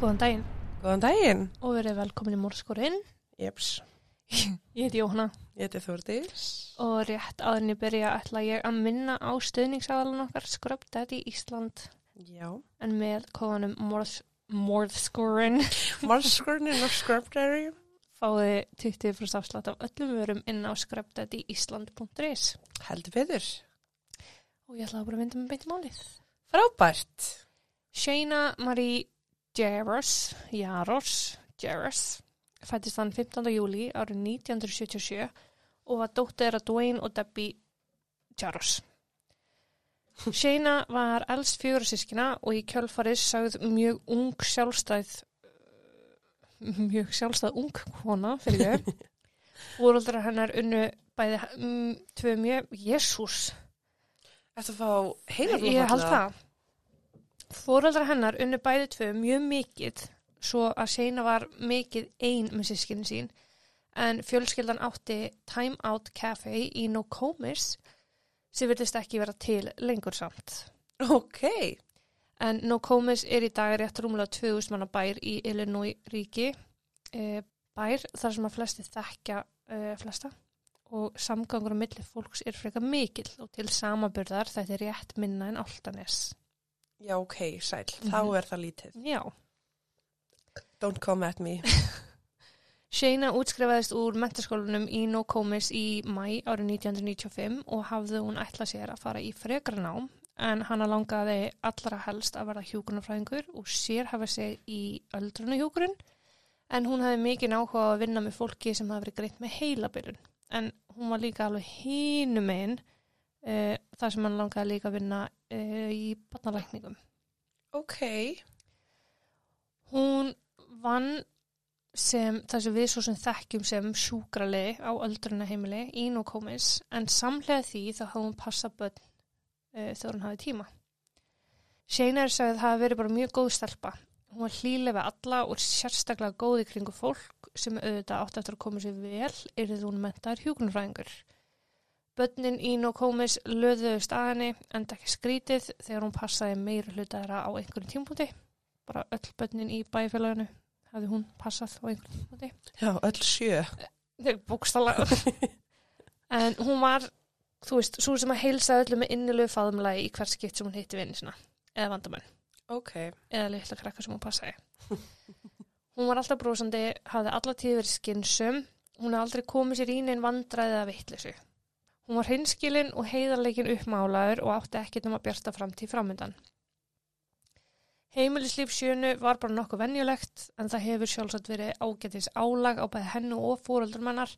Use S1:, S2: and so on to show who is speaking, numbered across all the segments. S1: Góðan daginn
S2: Góðan daginn.
S1: og verið velkomin í Mórskorinn.
S2: Jeps,
S1: Ég heiti Jóhanna
S2: ég heiti Þórdís.
S1: og rétt áður en ég byrja ætla ég að minna á stöðningsaðalan okkar Scrub Daddy Ísland
S2: Já.
S1: en með kóðanum Mórs, Mórskorinn
S2: Marskurnin og Scrubberry.
S1: fáið 20% afslátt af öllum vörum inn á scrubdaddyisland.is
S2: Heldur betur.
S1: og ég ætla að bara mynda með beint í málið.
S2: Frábært.
S1: Shayna Marie Jaros, Jaros, Jaros, fættist þann 15. júli árið 1977 og var dóttir að Dwayne og Debbie Jaros. Shayna var elst fjögur sískina og í kjölfarið sagð mjög ung sjálfstæð, mjög sjálfstæð ung kona fyrir þau. Úröldra hennar unnu bæði mm, tvö mjög, jésús,
S2: Þetta fá heilar
S1: Ég held það. Fóreldrar hennar unnu bæði tvö mjög mikið svo að Seina var mikið ein með sískinin sín en fjölskyldan átti Time Out Cafe í Nokomis sem virðist ekki vera til lengur samt.
S2: Ok.
S1: En Nokomis er í dag rétt rúmlega 2000 manna bær í Illinois ríki eh, bær þar sem að flesti þekkja eh, flesta og samgangur á milli fólks er frekar mikill og til samaburðar þetta er rétt minna en Altanes.
S2: Já, ok, sæl. Þá er það lítið.
S1: Já.
S2: Don't come at me.
S1: Shayna útskrifaðist úr mentaskólanum í Nokomis í mæ árið 1995 og hafði hún ætlað sér að fara í frekra nám en hana langaði allra helst að verða hjúgrunafræðingur og sér hafa sig í öldrunahjúgrun en hún hafði mikið náhuga að vinna með fólki sem hafði verið greitt með heilabilun en hún var líka alveg hínum einn uh, þar sem hann langaði líka að vinna uh, í barnalækningum.
S2: Ok.
S1: Hún vann sem, það sem við svo sem þekkjum sem sjúkrali á öldrunaheimili í Nókomis en samlega því þá hafði hún passa börn uh, þegar hún hafi tíma. Seinar sagði að það hafi verið bara mjög góð stelpa. Hún var hlýlega við alla og sérstaklega góð í kringu fólk sem auðvitað átti eftir að koma sér vel yrðið hún mentaður hjúkunfræðingur. Bönnin í Nókomis löðuðust að henni en ekki skrítið þegar hún passaði meira hluta þeirra á einhverjum tímpúti bara öll börnin í bæfélaginu hafði hún passað á einhvern móti
S2: Já, öll sjö.
S1: þegar bókstala en hún var, þú veist, svo sem að heilsa öllu með innilegu faðumlagi í hver skipt sem hún hitti vinni sinna, eða vandamenn
S2: Ok.
S1: eða litla krakka sem hún passaði hún var alltaf brosandi hafði alla tíð verið skinsum hún hafði aldrei komið sér í neinn vandræði eða vitleysu hún var hinskilin og heiðarleikin uppmálaður og átti ekkert um að bjarta framtíð framöndan Heimilislíf sjönu var bara nokkuð venjulegt en það hefur sjálfsagt verið ágætis álag á bæði hennu og fóröldrum hennar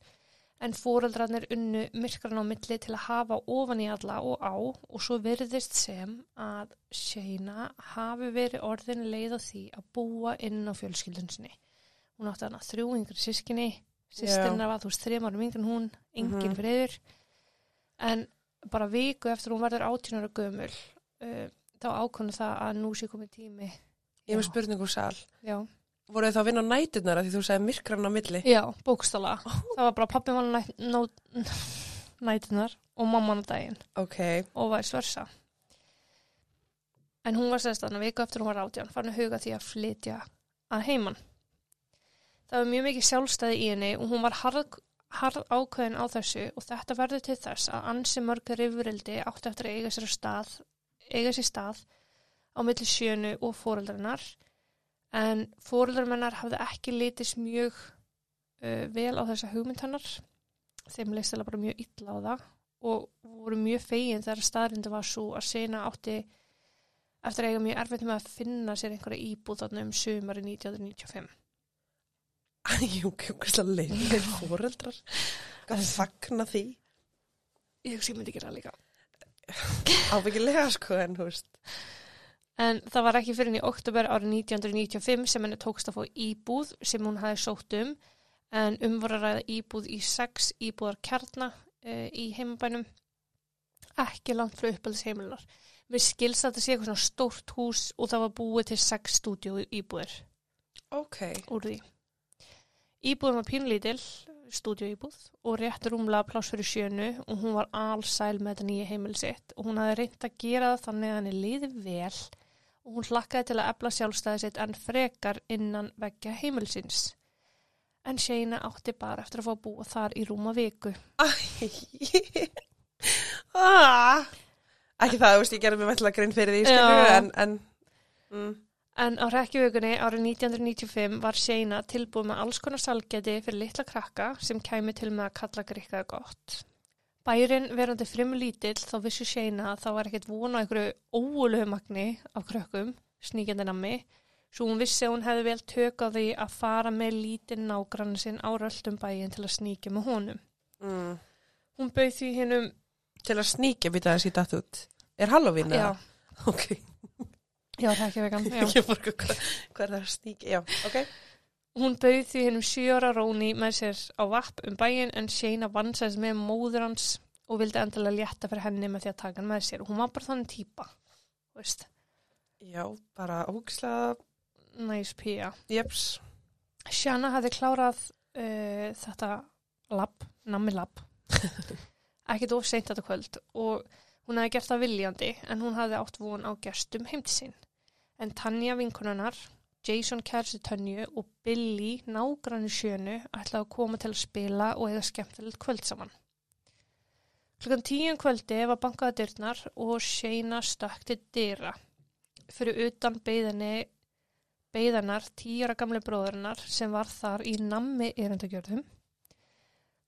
S1: en fóröldrarnir unnu myrkran á milli til að hafa ofan í alla og á og svo virðist sem að Shayna hafi verið orðin leið á því að búa inn á fjölskyldunsinni. Hún átti hana þrjú yngri sískinni,
S2: Já.
S1: sýstirna var þú veist þrejum árum yngri en hún, engin
S2: Mhm.
S1: friður en bara viku eftir hún verður 18 ára gömul uh, þá ákonu það að nú sé komið tími
S2: Ég hef
S1: Já.
S2: með spurningu sal.
S1: Já,
S2: Voru þið þá að vinna á næturnar að því þú sagði myrkran á milli?
S1: já bókstala. Það var bara pappi var nætt, nó, nætunar og mamman á daginn
S2: Ok.
S1: og var svörsa. En hún var sérst þannig að viku eftir hún var átján farin að huga því að flytja að heiman. Það var mjög mikið sjálfstæði í henni og hún var harð, harð ákveðin á þessu og þetta verður til þess að ansi mörg rifrildi átti eftir að eiga sér, á stað, eiga sér stað á milli sjönu og fóreldarinnar en fóreldarinnar hafði ekki litist mjög uh, vel á þessa hugmynd hennar þeim leist þeirra bara mjög illa á það og voru mjög fegin þegar staðrindu var svo að sena átti eftir að eiga mjög erfitt með að finna sér einhverja íbúð þarna um sumari 1995.
S2: Jú, kjókislega leiðir fóreldrar. Hvað fagna því?
S1: Ég hugsi ég myndi gera það líka.
S2: Ábyggilega sko en þú veist.
S1: En það var ekki fyrir henni í oktober árið 1995 sem henni tókst að fá íbúð sem hún hafi sótt um en um voru að ræða íbúð í sex íbúðar kjarna uh, í heimabænum ekki langt frá uppaldsheimilunar. Mér skilst að þetta sé eitthvað svona stórt hús og það var búið til sex stúdíu íbúðir.
S2: Ok.
S1: úr því. Íbúðin var pínlítil, stúdíuíbúð og rétt rúmlega pláss fyrir sjönu og hún var alsæl með þetta nýja heimil sitt og hún hafði reynt að gera það þannig að henni liði vel og hún hlakkaði til að efla sjálfstæði sitt en frekar innan veggja heimilsins. En Shayna átti bara eftir að fá að búa þar í rúma viku.
S2: ah, ekki það, þú veist, ég gerði mér mættilega grein fyrir því, skilur,
S1: Já.
S2: en, en mm,
S1: En á rekkivikunni árið 1995 var Shayna tilbúið með alls konar salgeti fyrir litla krakka sem kæmi til með að kalla grikkaði gott. Bærin verandi frimu lítill þá vissu Shayna að það var ekkert vona einhverju óulhumagni af krökkum, sníkjandi nammi, svo hún vissi að hún hefði vel tök á því að fara með lítinn nágrann sinn á röldum bæin til að sníkja með honum.
S2: mm.
S1: Hún bauð því hinnum,
S2: til að sníkja býta þessi datt út. Er Halloween
S1: já,
S2: eða? Ok,
S1: já, rekkivikan, já.
S2: ég fór ekki hvað hvað er það að sníkja, já, ok.
S1: Hún bauð því hennum sjöra Róni með sér á vapp um bæin en Shayna vansæðis með móður hans og vildi endilega létta fyrir henni með því að taka hann með sér. Hún var bara þannig típa, þú veist,
S2: Já, bara ógislega,
S1: næs pía.
S2: jeps,
S1: Shanna hafði klárað uh, þetta lapp, nammi lapp, ekkit of seint þetta kvöld og hún hafði gert það viljandi en hún hafði átt von á gestum heimti sín. En Tanja vinkununnar, Jason kærstu Tönju og Billy nágrannu sjönu ætlaði að koma til að spila og eða skemmtilegt kvöld saman. Klukkan tíu um kvöldi var bankaða dyrnar og Shayna stökti dyra. Fyrir utan beðinni beigðarnar, tíjara gamle bróðurinnar sem var þar í nammi erindagjörðum.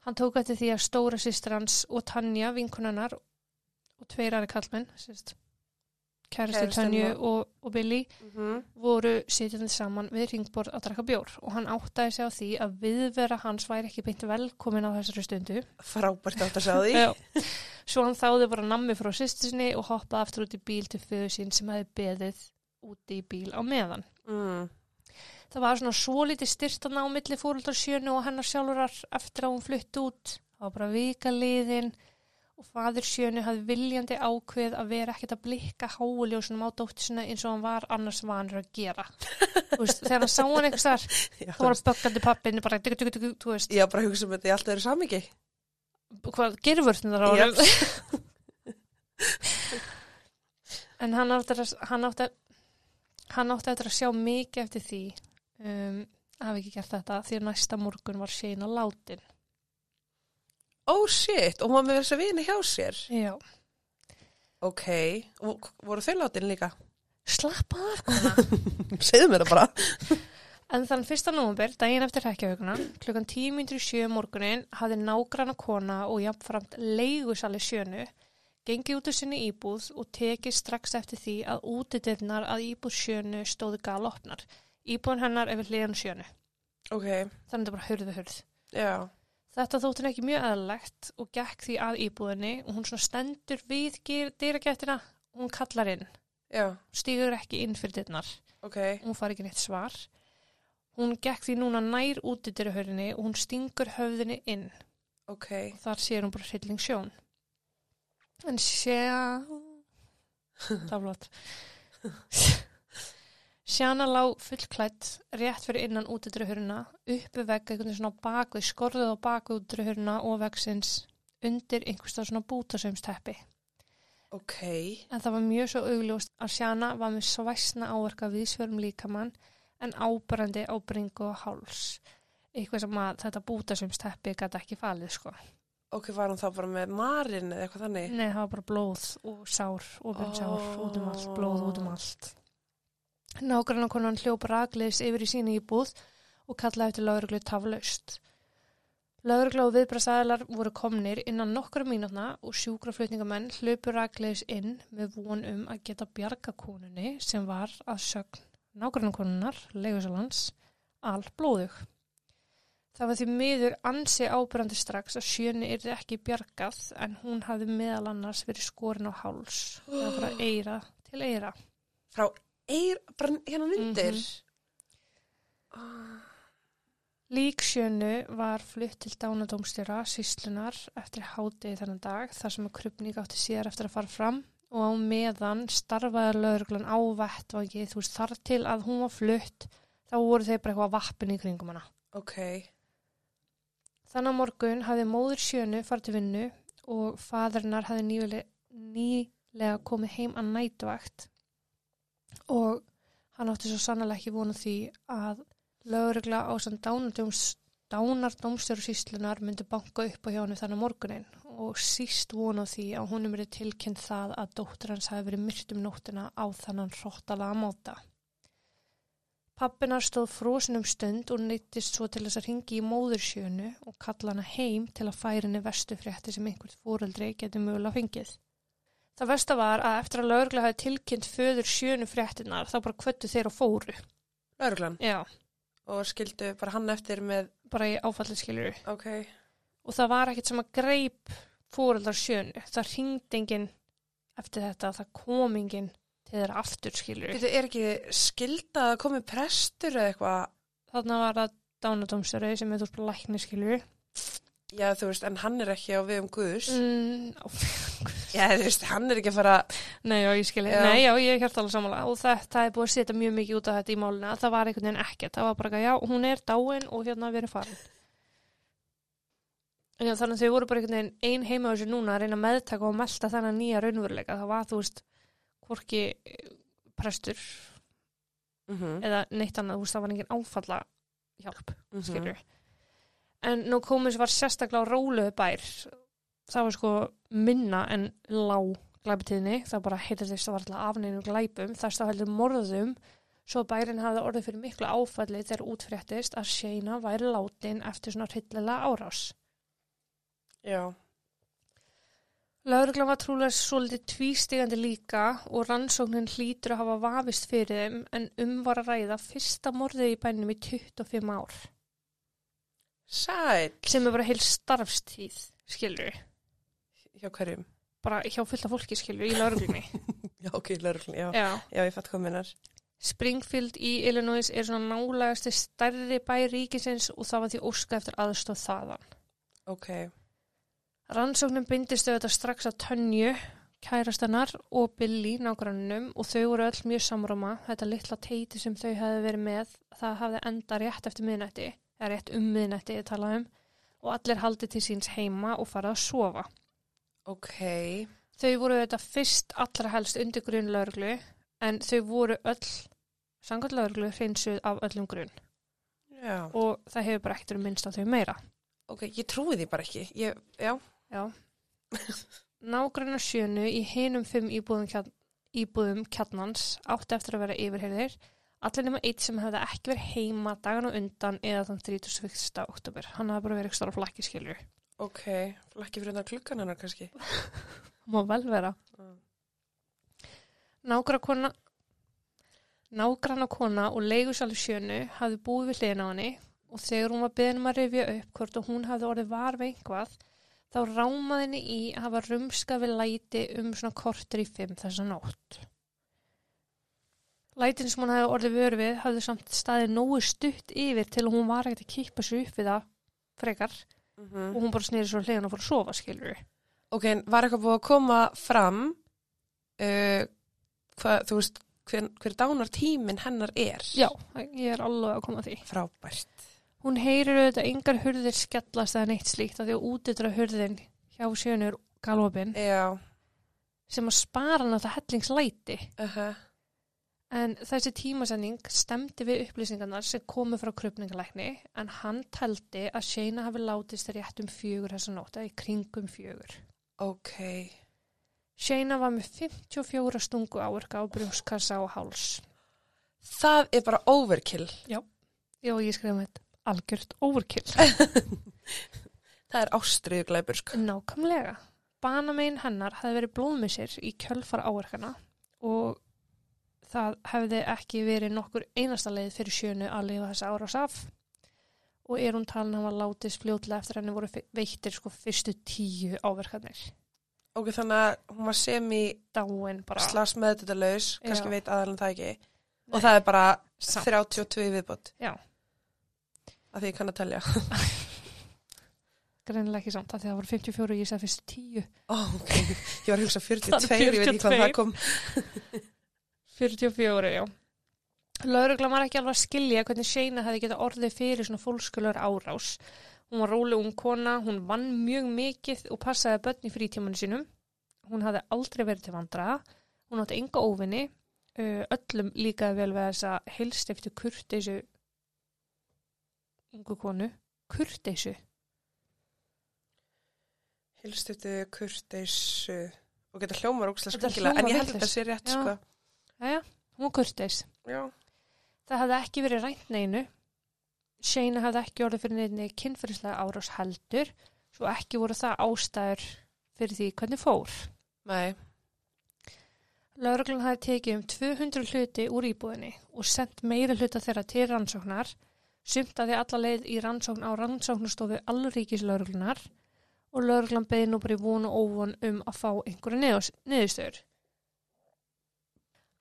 S1: Hann tók eftir því að stóra sýstir hans og Tanja, vinkunarnar og tveirari kallmenn, sérst, kæristi
S2: Kærastan
S1: Tanju
S2: og-
S1: og, og Billy,
S2: mm
S1: Mhm.
S2: -hmm.
S1: voru sitjandi saman við ringborð að drakka bjór og hann áttaði sig á því að viðvera hans væri ekki beint velkomin á þessari stundu.
S2: frábært átt að sjá því.
S1: Já. Svo hann þáði bara nammi frá sýstinni og hoppaði aftur út í bíl til föðu sín sem hefði beðið úti í bíl á meðan.
S2: Mm.
S1: Það var svona svolítið styrtan á milli fóruldar sjönu og hennar sjálfurar eftir að hún flutt út. Það var bara vika liðin og fadur sjönu hafði viljandi ákveð að vera ekkert að blikka háuljósunum á dóttisina eins og hann var annars vanur að gera. Þú veist, þegar hann sá hann eitthvað þar,
S2: Já,
S1: þá var hann böggandi pappinu bara, diggu, diggu, diggu, þú veist,
S2: Já, bara hugsa um þetta í alltaf eru samingi.
S1: hvað gerfurðin þar á hann. En hann átti, að, hann, átti að, hann átti eftir að sjá mikið eftir því um, að hafa ekki gert þetta því að næsta morgun var Shayna látin.
S2: Oh shit, og hún var með þess að vini hjá sér.
S1: Já.
S2: Ok, og voru þau látin líka?
S1: Slappa af kona.
S2: Segðu mér það bara.
S1: en þann fyrsta nómber, daginn eftir hrekkjahauguna, klukkan 10.07 morgunin hafði nágranna kona og jafnframt leigusali sjönu gengið út úr sinni íbúð og tekið strax eftir því að útidirnar að íbúð sjönu stóðu galopnar. Íbúðin hennar er við hliðan á sjönu.
S2: Ok,
S1: Þannig að þetta er bara hurðu hurð.
S2: já.
S1: Þetta þótt henni ekki mjög eðlilegt og gekk því að íbúðinni og hún svona stendur við dyragættina og hún kallar inn,
S2: Já,
S1: stígur ekki inn fyrir dyrnar.
S2: ok.
S1: Hún far ekki neitt svar. Hún gekk því núna nær út í dyrahörðinni og hún stingur höfðinni inn.
S2: Ok.
S1: Þar sér hún bara hrylling sjón. En sé... Taflót. Sjana lá fullklætt rétt fyrir innan útidröhurina, uppu vegg einhvern veginn svona á bakvið, skorðuð á bakvið útidröhurina og veggsins undir einhverstað svona bútasaumsteppi.
S2: Ok.
S1: En það var mjög svo augljóst að Sjana var með svæsna áverka viðsverum líkamann en ábrandi á bringu og háls. Eitthvað sem að þetta bútasaumsteppi gæti ekki falið sko.
S2: Ok, var hún þá bara með marinn eða eitthvað þannig?
S1: Nei, það var bara blóð og sár, ofinn sár, út um allt, blóð út um allt. Nágrann konan hljóp rakleis yfir í sína íbúð og kallaði eftir lauruglu taflaust. Laurugla og viðbrasaðalar voru komnir innan nokkra mínútna og sjúkraflutningamenn hljópu rakleis inn með von um að geta bjarga konunni sem var að sögn nágrann konunnar, leigusalans, all blóðug. Það var því miður ansi ábyrrandi strax að sjöni yrði ekki bjargað en hún hafði meðal annars verið skorin á háls eða bara eira til eira.
S2: Frá eir, bara hérna Ah, undir? Mhm.
S1: Lík sjönu var flutt til dánadómstjóra síslunar eftir hádegi þennan dag þar sem að krupning átti síðar eftir að fara fram og á meðan starfaði lögreglan á vettvangi þú veist þar til að hún var flutt þá voru þeir bara eitthvað vappin í kringum hana.
S2: Ok.
S1: Þannig að morgun hafði móður sjönu farið til vinnu og fadurnar hafði nýlega, nýlega komið heim að nætuvakt og hann átti svo sannlega ekki vona því að lögregla á sann dánardóms, dánardómstjóru síslunar myndi banka upp á hjá henni þannig morgunin og síst vona því að honum er tilkynnt það að dóttir hans hafi verið myrt um nóttina á þannan hróttalega móta. Pappinar stóð frosin um stund og nýttist svo til þess að ringi í móðursjönu og kalla hana heim til að færa henni vestu frétti sem einhvert fóreldri geti mögulega fengið. Það versta var að eftir að lögregla hafi tilkynnt föður sjönu fréttinar þá bara kvöttu þeir og fóru.
S2: Örglan.
S1: Já,
S2: Og skildu bara hann eftir með,
S1: bara í áfallið skiljuru.
S2: ok,
S1: Og það var ekkert sem að greip fóreldar sjönu. Það ringdi enginn eftir þetta, það kom enginn til þeirra aftur skiljuru.
S2: þetta er ekki skilda að komi prestur eða eitthvað,
S1: Þannig var það dánadómstöru sem er þú spil lækni skiljuru.
S2: já þú veist, en hann er ekki á við um Guðs.
S1: Mm, á-
S2: Já, þú veist, hann er ekki að fara,
S1: nei, já, ég skilji.
S2: Já.
S1: Nei, já, ég er hjartalega sammála. Og þetta er búið að setja mjög mikið út af þetta í máluna. Það var einhvern veginn ekkert. Það var bara ekki, já, hún er dáin og hérna við erum farin. En já, þannig að þau voru bara einhvern veginn ein heima á þessu núna að reyna að meðtaka og melta þennan nýja raunveruleika. Það var, þú veist, hvorki eh, prestur
S2: mm -hmm,
S1: eða neitt annað, þú veist, það var engin áfalla hjálp,
S2: mhm.
S1: skilur. Mhm. En nú komis var sérstaklega á róluðu bær. Það var sko minna en lág glæpitíðni. Það bara heyrðist að var alltaf afneinu glæpum. Það stafældur morðum. Svo bærin hafði orðið fyrir miklu áfalli þegar útfréttist að Shayna væri látin eftir svona hryllilega árás.
S2: Já,
S1: Lauruglan var trúlega svolítið tvístigandi líka og rannsóknin hlýtur að hafa vafist fyrir þeim en um var að ræða fyrsta morðið í bænum í 25 ár
S2: sæl,
S1: sem er bara heil starfstíð, skilur
S2: hjá hverjum?
S1: bara hjá fullta fólki, skilur, í lauruglunni
S2: Já, ok, lörgl, já.
S1: Já.
S2: Já, ég fatt hvað minnar.
S1: Springfield í Illinois er svona nálegasti stærri bæ ríkisins og það var því óska eftir aðstóð þaðan
S2: Ok,
S1: Rannsóknin bindist auðvitað strax að Tönju, kærastannar og Billy nágrannum og þau voru öll mjög samróma. Þetta litla teiti sem þau hefði verið með, það hafði enda rétt eftir miðnætti, eða rétt um miðnætti ég tala um, og allir haldið til síns heima og farið að sofa.
S2: ok,
S1: Þau voru auðvitað fyrst allra helst undir grunn lauruglu en þau voru öll, sangat lauruglu, hreinsuð af öllum grunn
S2: já.
S1: og það hefur bara ekkert um minnst á þau meira.
S2: Ok, ég trúi því bara ekki. Ég, já,
S1: Já. Nágrannar sjönu í hinum fimm íbúðum, kjarn, íbúðum kjarnans átti eftir að vera yfirheyrðir. Allir nema eitt sem hefði ekki verið heima dagan og undan eða þann 31. oktober. Hann hafði bara verið ekki stóra flakki skilur.
S2: ok. Lakki fyrir undan klukkan hennar kannski.
S1: Má vel vera.
S2: Mm.
S1: Nágrannakona Nágrannakona og leigusalur sjönu hafði búið við hliðin á henni og þegar hún var beðin um að rifja upp hvort að hún hafði orðið var við einhvað þá rámaði henni í að hafa rumska við læti um svona kortur í fimm þessa nótt. Lætin sem hún hafði orðið vör við hafði samt staðið nógu stutt yfir til að hún var ekkert að kippa sér upp við það frekar
S2: mhm.
S1: og hún bara snýri svo hliðin og fór að sofa skilur við.
S2: Ok, en var eitthvað búið að koma fram, uh, hvað, þú veist, hver, hver dánar tíminn hennar er?
S1: Já, ég er alveg að koma að því.
S2: Frábært.
S1: Hún heyrir auðvitað engar hurðir skellast eða neitt slíkt að því að útidra hurðin hjá sjönur galopin
S2: Já,
S1: sem að spara hann alltaf hellingslæti.
S2: uh
S1: En þessi tímasending stemdi við upplýsingarnar sem komu frá krupningalækni en hann teldi að Shayna hafi látist rétt um fjögur þessa nóta í kringum fjögur.
S2: ok,
S1: Shayna var með 54 stungu áverka á brjóskassa og háls.
S2: það er bara overkill.
S1: Já, ég skrifaði með algjört overkill.
S2: Það er ástriðu glæpur, sko.
S1: Nákvæmlega. Banamein hennar hafði verið blóðmissir í kjölfar áverkana og það hefði ekki verið nokkur einasta leið fyrir sjönu að lifa þessa árás af og er hún talin að hafa látist fljótlega eftir að henni voru fe- veittir sko fyrstu tíu áverkanir.
S2: Ok, þannig að hún var semi
S1: Dáin bara.
S2: slags meðdutalaus, kannski
S1: Já.
S2: veit aðalann það ekki. Og
S1: Nei.
S2: það er bara
S1: Samt.
S2: 32 í viðbót.
S1: Já.
S2: Af því ég kann að telja.
S1: Greinilega ekki samt af því að það voru 54 og ég sagði fyrstu tíu.
S2: Ó, ok, ég var að hugsa 42,
S1: Það er
S2: ég veit ekki hvað
S1: 42.
S2: það kom.
S1: 44, já. Lauruglan var ekki alveg að skilja hvernig Shayna hefði getað orðið fyrir svona fólkskulur árás. Hún var róleg ung kona, hún vann mjög mikið og passaði börn í frítímanu sínum. Hún hafði aldrei verið til vandra, hún átti enga óvinni, uh, öllum líkaði vel við þessa heilstiftu kurteisu ungu konu kurteisu
S2: Hilstutu, kurteisu og þetta hljómar ógstlega
S1: Þetta
S2: skringilega en
S1: hljómar
S2: ég held að þetta
S1: vitlaust.
S2: sé rétt
S1: Já.
S2: sko.
S1: Jæja, hún var kurteis
S2: Já.
S1: Það hafði ekki verið rænt neinu. Shane hafði ekki orðið fyrir neinu kynferðislega árás heldur svo ekki voru það ástæður fyrir því hvernig fór.
S2: Nei.
S1: Lörglun hafði tekið um 200 hluti úr íbúðinni og sendt meira hluta þeirra til rannsóknar, sumtaði alla leið í rannsókn á rannsóknastofu allríkis lörglunar og lörglan beði nú bara í von og óvon um að fá einhverju niðurs- niðurstöður.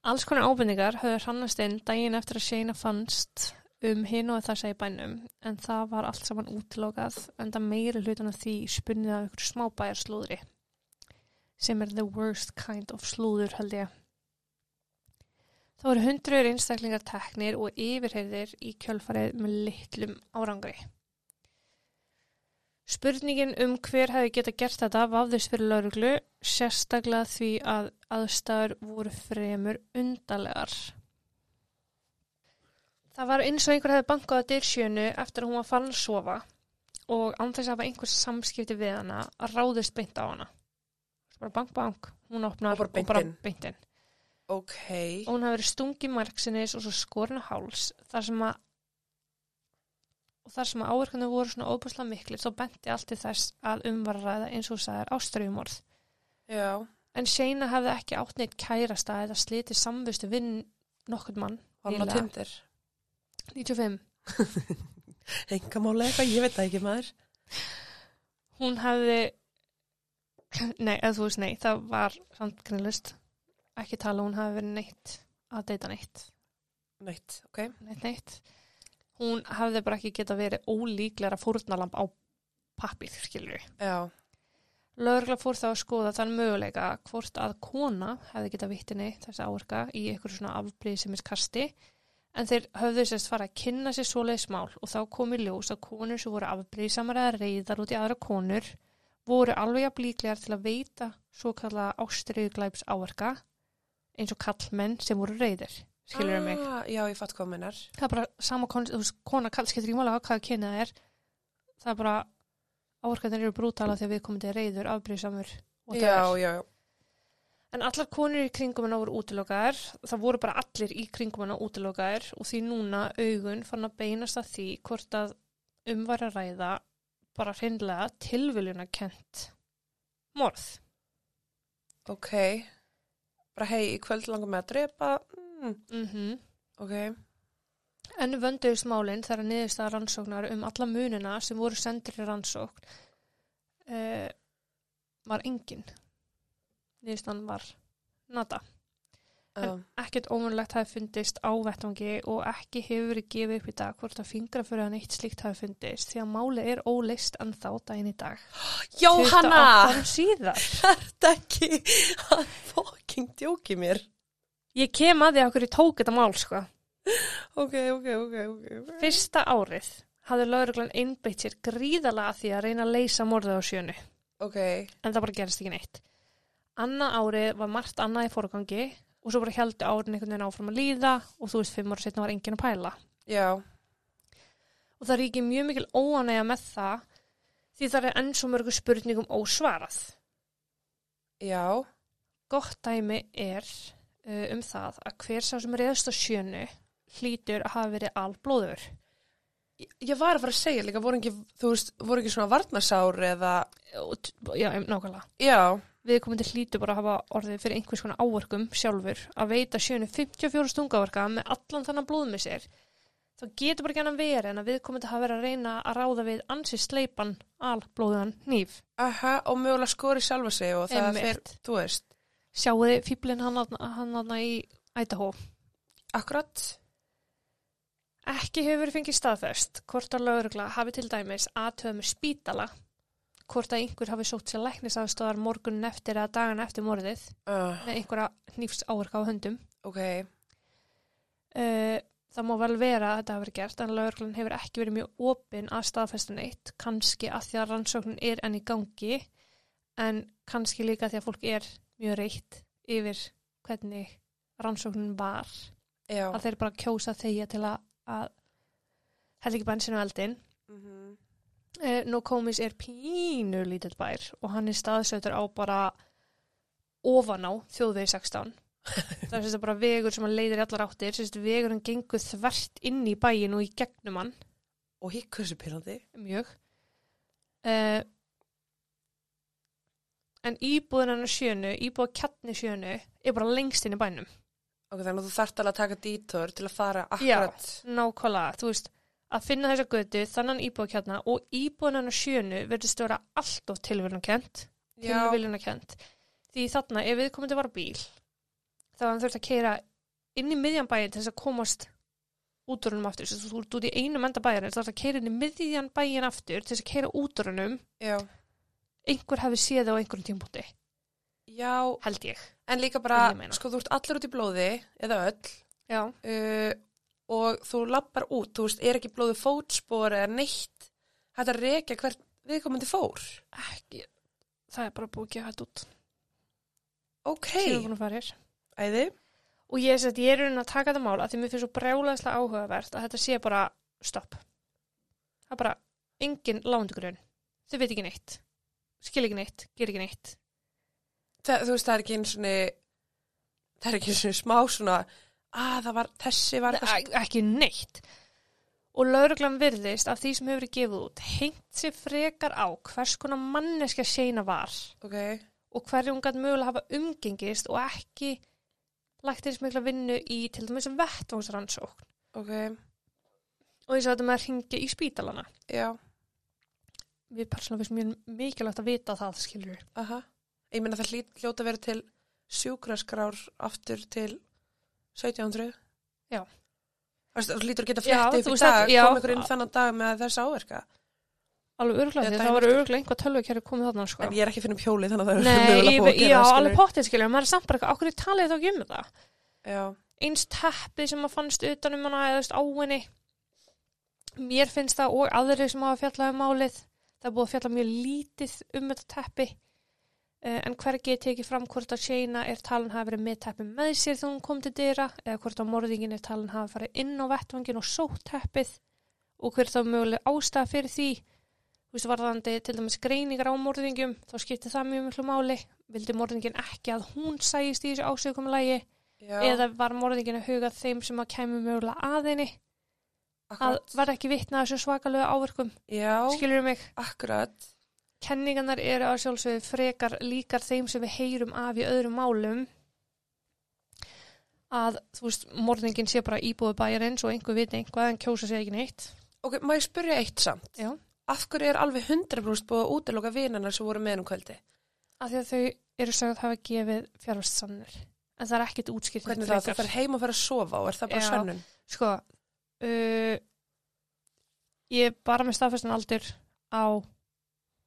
S1: Alls konar ábendingar höfðu hrannast inn daginn eftir að Shane fannst um hinn og þessa í bænum en það var allt saman útlokað en það meiri hlutan af því spunnið af einhverju smábæjar slúðri sem er the worst kind of slúður held ég. Það voru hundruður einstaklingar teknir og yfirheyrðir í kjölfarið með litlum árangri. Spurningin um hver hefði geta gert þetta vafðist fyrir lauruglu, sérstaklega því að aðstæður voru fremur undarlegar. Það var eins og einhver hefði bankað að dyrsjönu eftir að hún var farin að sofa og án þess að hafa einhver samskipti við hana að ráðist beint á hana. Bara bank, bank, hún opnar
S2: Og bara beint inn.
S1: beint inn
S2: Ok.
S1: og hún hafi verið stungið margsinnis og svo skorin á háls þar sem að og þar sem að áverkanu voru svona óbúslega miklir þá benti allt til þess að umvarræða eins og þú sagðir áströfumorð
S2: Já.
S1: en Shana hefði ekki átt neitt kærasta eða slitið samvistu vinn nokkurn mann
S2: Hann á
S1: Nýlega.
S2: tindir.
S1: 95
S2: Engamálega eitthvað, ég veit það ekki maður.
S1: hún hefði nei, eða þú veist nei, það var samt greinlust ekki tala um að hún hefði verið neitt að deyta neitt
S2: Neitt, ok.
S1: neitt, neitt. Hún hafði bara ekki geta verið ólíklega fórnalamb á pappir, skilur við.
S2: Já.
S1: Lörgla fór þá að skoða þann möguleika hvort að kona hefði geta vittinni þessi áverka í einhverju svona afbrýðsimiskasti en þeir höfðu sérst fara að kynna sér svoleiðis mál og þá komi ljós að konur sem voru afbrýðsamar eða reyðar út í aðra konur voru alveg að blíklegar til að veita svo kalla ástriðuglæps áverka eins og kallmenn sem voru reyðir, skilur við mig
S2: Ah, já, ég fatt hvað minnar.
S1: það er bara sama kon, þú veist, kona kall skiptir ekki mála á hvaða kynið það er það er bara áverkarnir eru brútala þegar við komum er reyður, afbrýðsamur og
S2: Já,
S1: það er.
S2: já.
S1: En allar konur í kringum hana voru útilokaðar það voru bara allir í kringum hana útilokaðar og því núna augun fann að beinast að því hvort að um var að ræða bara hreinlega tilviljuna kent morð.
S2: Ok. Bara hei, í kvöld langar mig að drepa. Mm.
S1: Mhm.
S2: Ok.
S1: En vönduðist málinn þegar niðurstaða rannsóknar um alla munina sem voru sendir í rannsókn uh, var engin. Niðurstaðan var nada. En-
S2: Um,
S1: Ekkert ómunlegt hafi fundist á vettvangi og ekki hefur verið gefið upp í dag hvort að fingra fyrir hann eitt slíkt hafi fundist því að málið er óleist en þá daginn í dag. 28 árum síðar.
S2: Þetta ekki, hann fucking djóki mér.
S1: Ég kem að því að hverju tók þetta mál sko.
S2: Ok, ok, ok, ok.
S1: Fyrsta árið hafði lauruglan einbeitt sér gríðalega að því að reyna að leysa morðið á sjönu.
S2: Ok,
S1: en það bara gerist ekki neitt. Anna árið var margt annað í forgangi og svo bara heldur árin einhvern veginn áfram að líða og þú veist, fimm ára setna var enginn að pæla.
S2: já,
S1: Og það ríkir mjög mikil óanægja með það því það er enn svo mörgu spurningum ósvarað.
S2: já,
S1: Gott dæmi er uh, um það að hver sá sem reyðast á sjönu hlýtur að hafa verið alblóður.
S2: Ég- Ég var að fara að segja líka, voru ekki, þú veist, voru ekki svona varnarsár eða,
S1: Og t- Já, em, nákvæmlega.
S2: já,
S1: Við komum til hlýtur bara að hafa orðið fyrir einhvers konar áverkum sjálfur að veita sjönu 54 stungaverka með allan þannig blóðmissir. Þá getur bara ekki hann verið en að við komum til að vera að reyna að ráða við ansið sleipan alblóðan hníf.
S2: aha, og mögulega skori sjálfa sig og það
S1: Einmitt.
S2: fer, þú veist,
S1: Sjáu þið fýblin hann aðna í Idaho.
S2: akkurat,
S1: Ekki hefur verið fengið staðfest hvort að lögregla hafi til dæmis aðtöð með spítala, hvort að einhver hafi sótt sér læknisafstöðar morgunin eftir eða dagan eftir morðið
S2: uh,
S1: með einhverja hnífs áverka á höndum.
S2: ok,
S1: Eh, það má vel vera að þetta hafi verið gert en lögurglun hefur ekki verið mjög opin að staðfesta neitt, kannski að því að rannsóknin er enn í gangi en kannski líka því að fólk er mjög reitt yfir hvernig rannsóknin var
S2: já.
S1: að þeir bara kjósa þegja til að, að held ekki bensinu eldin
S2: Mm
S1: uh, Nokomis er pínu lítill bær og hann er staðsötur á bara ofan á þjóðvegi 16 það er sérst bara vegur sem hann leiðir í allar áttir sérst vegurinn gengur þvert inn í bæin og í gegnum hann
S2: Og hikkur þessu pyrrandi.
S1: mjög uh, en íbúðin hann á sjönu íbúða kjarni sjönu er bara lengst inn í bænum
S2: Ok, þannig að þú þarft alveg að taka dítor til að fara
S1: Já.
S2: akkurat.
S1: nákvæmlega, þú veist að finna þessa götu, þannan íbúðkjarna og íbúðin hann á sjönu verðist vera allt of tilvölinakent tilviljunarkend því þarna ef við komum til var á bíl þá var hann þurft að keira inn í miðjan bæin til þess að komast útrunum aftur, þess að þú ert út í einum enda bæjarins þá þarf að keira inn í miðjan bæin aftur til þess að keira útrunum
S2: já.
S1: einhver hafi séð það á einhverjum tímpúti
S2: Já,
S1: held ég
S2: en líka
S1: Ég
S2: bara,
S1: meina.
S2: sko, þú ert allir út í blóði, eða öll,
S1: já,
S2: uh, og þú lappar út, þú veist, er ekki blóði fótspor eða neitt, þetta er reykja hvert viðkomandi fór.
S1: ekki það er bara búið að gefa þetta út
S2: Ok,
S1: Síðan við erum búin að fara hér.
S2: æði.
S1: og ég, sem sagt, ég er raunin að taka þetta mál að því mér finnst svo brjálæðslega áhugavert að þetta sé bara stopp það er bara engin lándugrun þau veit ekki neitt skil ekki neitt, ger ekki neitt
S2: Þa, þú veist, það er ekki einu svona, það er ekki einu svona smá svona, að það var, þessi var eitthvað,
S1: Ek- ekki neitt og lauruglan virðist af því sem hefur verið gefið út hengt sér frekar á hvers konar manneska séna var
S2: ok,
S1: og hverju hún gætt mögulega hafa umgengist og ekki lagt eins mikla vinnu í til dæmis vettvánsrannsókn
S2: ok,
S1: og eins og þetta með að ringja í spítalana
S2: já,
S1: við persónum finnst mjög mikilvægt að vita það skilur við
S2: aha. Ég meina það hlýt, hljóta verið til sjúkraskrár aftur til 1700.
S1: Já.
S2: Þú veist, þú lítur að geta
S1: Já,
S2: frétti upp
S1: þú
S2: í
S1: veist
S2: dag,
S1: að- já.
S2: kom ykkur inn þannan dag með þess áverka.
S1: alveg örglega því
S2: Eða
S1: að
S2: daginn
S1: það var
S2: eftir.
S1: örglega einhvað tölvukæri komið þarna sko.
S2: En ég er ekki að finna um hjólið þannig að það er
S1: Nei,
S2: mögulega
S1: ég,
S2: búið að
S1: já,
S2: gera það,
S1: alveg
S2: skilur.
S1: pottið skilur, maður er samt bara eitthvað, okkur talið þá ekki um það
S2: Já,
S1: eins teppið sem að fannst utan um hana eða þú veist, á henni mér finnst það og aðri sem hafa fjallað um málið það er búið að fjalla mjög lítið um þetta teppi eh, en hvergi er tekið fram hvort að Shayna er talin hafa verið með teppi með sér þegar hún kom til dyra eða hvort að morðingin er talin hafa farið inn á vettvangin og sótt teppið og hver þá möguleg ástæða fyrir því þú veist varðandi til dæmis greiningar á morðingjum þá skipti það mjög miklu máli vildi morðingin ekki að hún sægist í þessu ásökumlægi
S2: já,
S1: eða var morðingin að huga þeim sem að kæmi mögulega að henni að
S2: akkurat.
S1: var ekki vitnað þessu svakalögu áverkum
S2: Já,
S1: skilur mig,
S2: akkurat.
S1: kenningarnar eru að sjálfsögðu frekar líkar þeim sem við heyrum af í öðrum málum að þú veist, morðingin sé bara íbúið bæjarins og einhver viti einhvað en kjósa sé ekki neitt
S2: Ok, má ég spyrja eitt samt?
S1: Já.
S2: Af hverju er alveg 100% búið að útiloka vinarnar sem voru með um kvöldi?
S1: af því að þau eru sögð hafa gefið fjárvast sannir en það er ekkit útskýrt
S2: Hvernig
S1: neitt
S2: það? Þú
S1: frekar.
S2: fer heim og fer að sofa og er það bara
S1: Já.
S2: sönnun?
S1: sko uh, ég er bara með staðfestan aldur á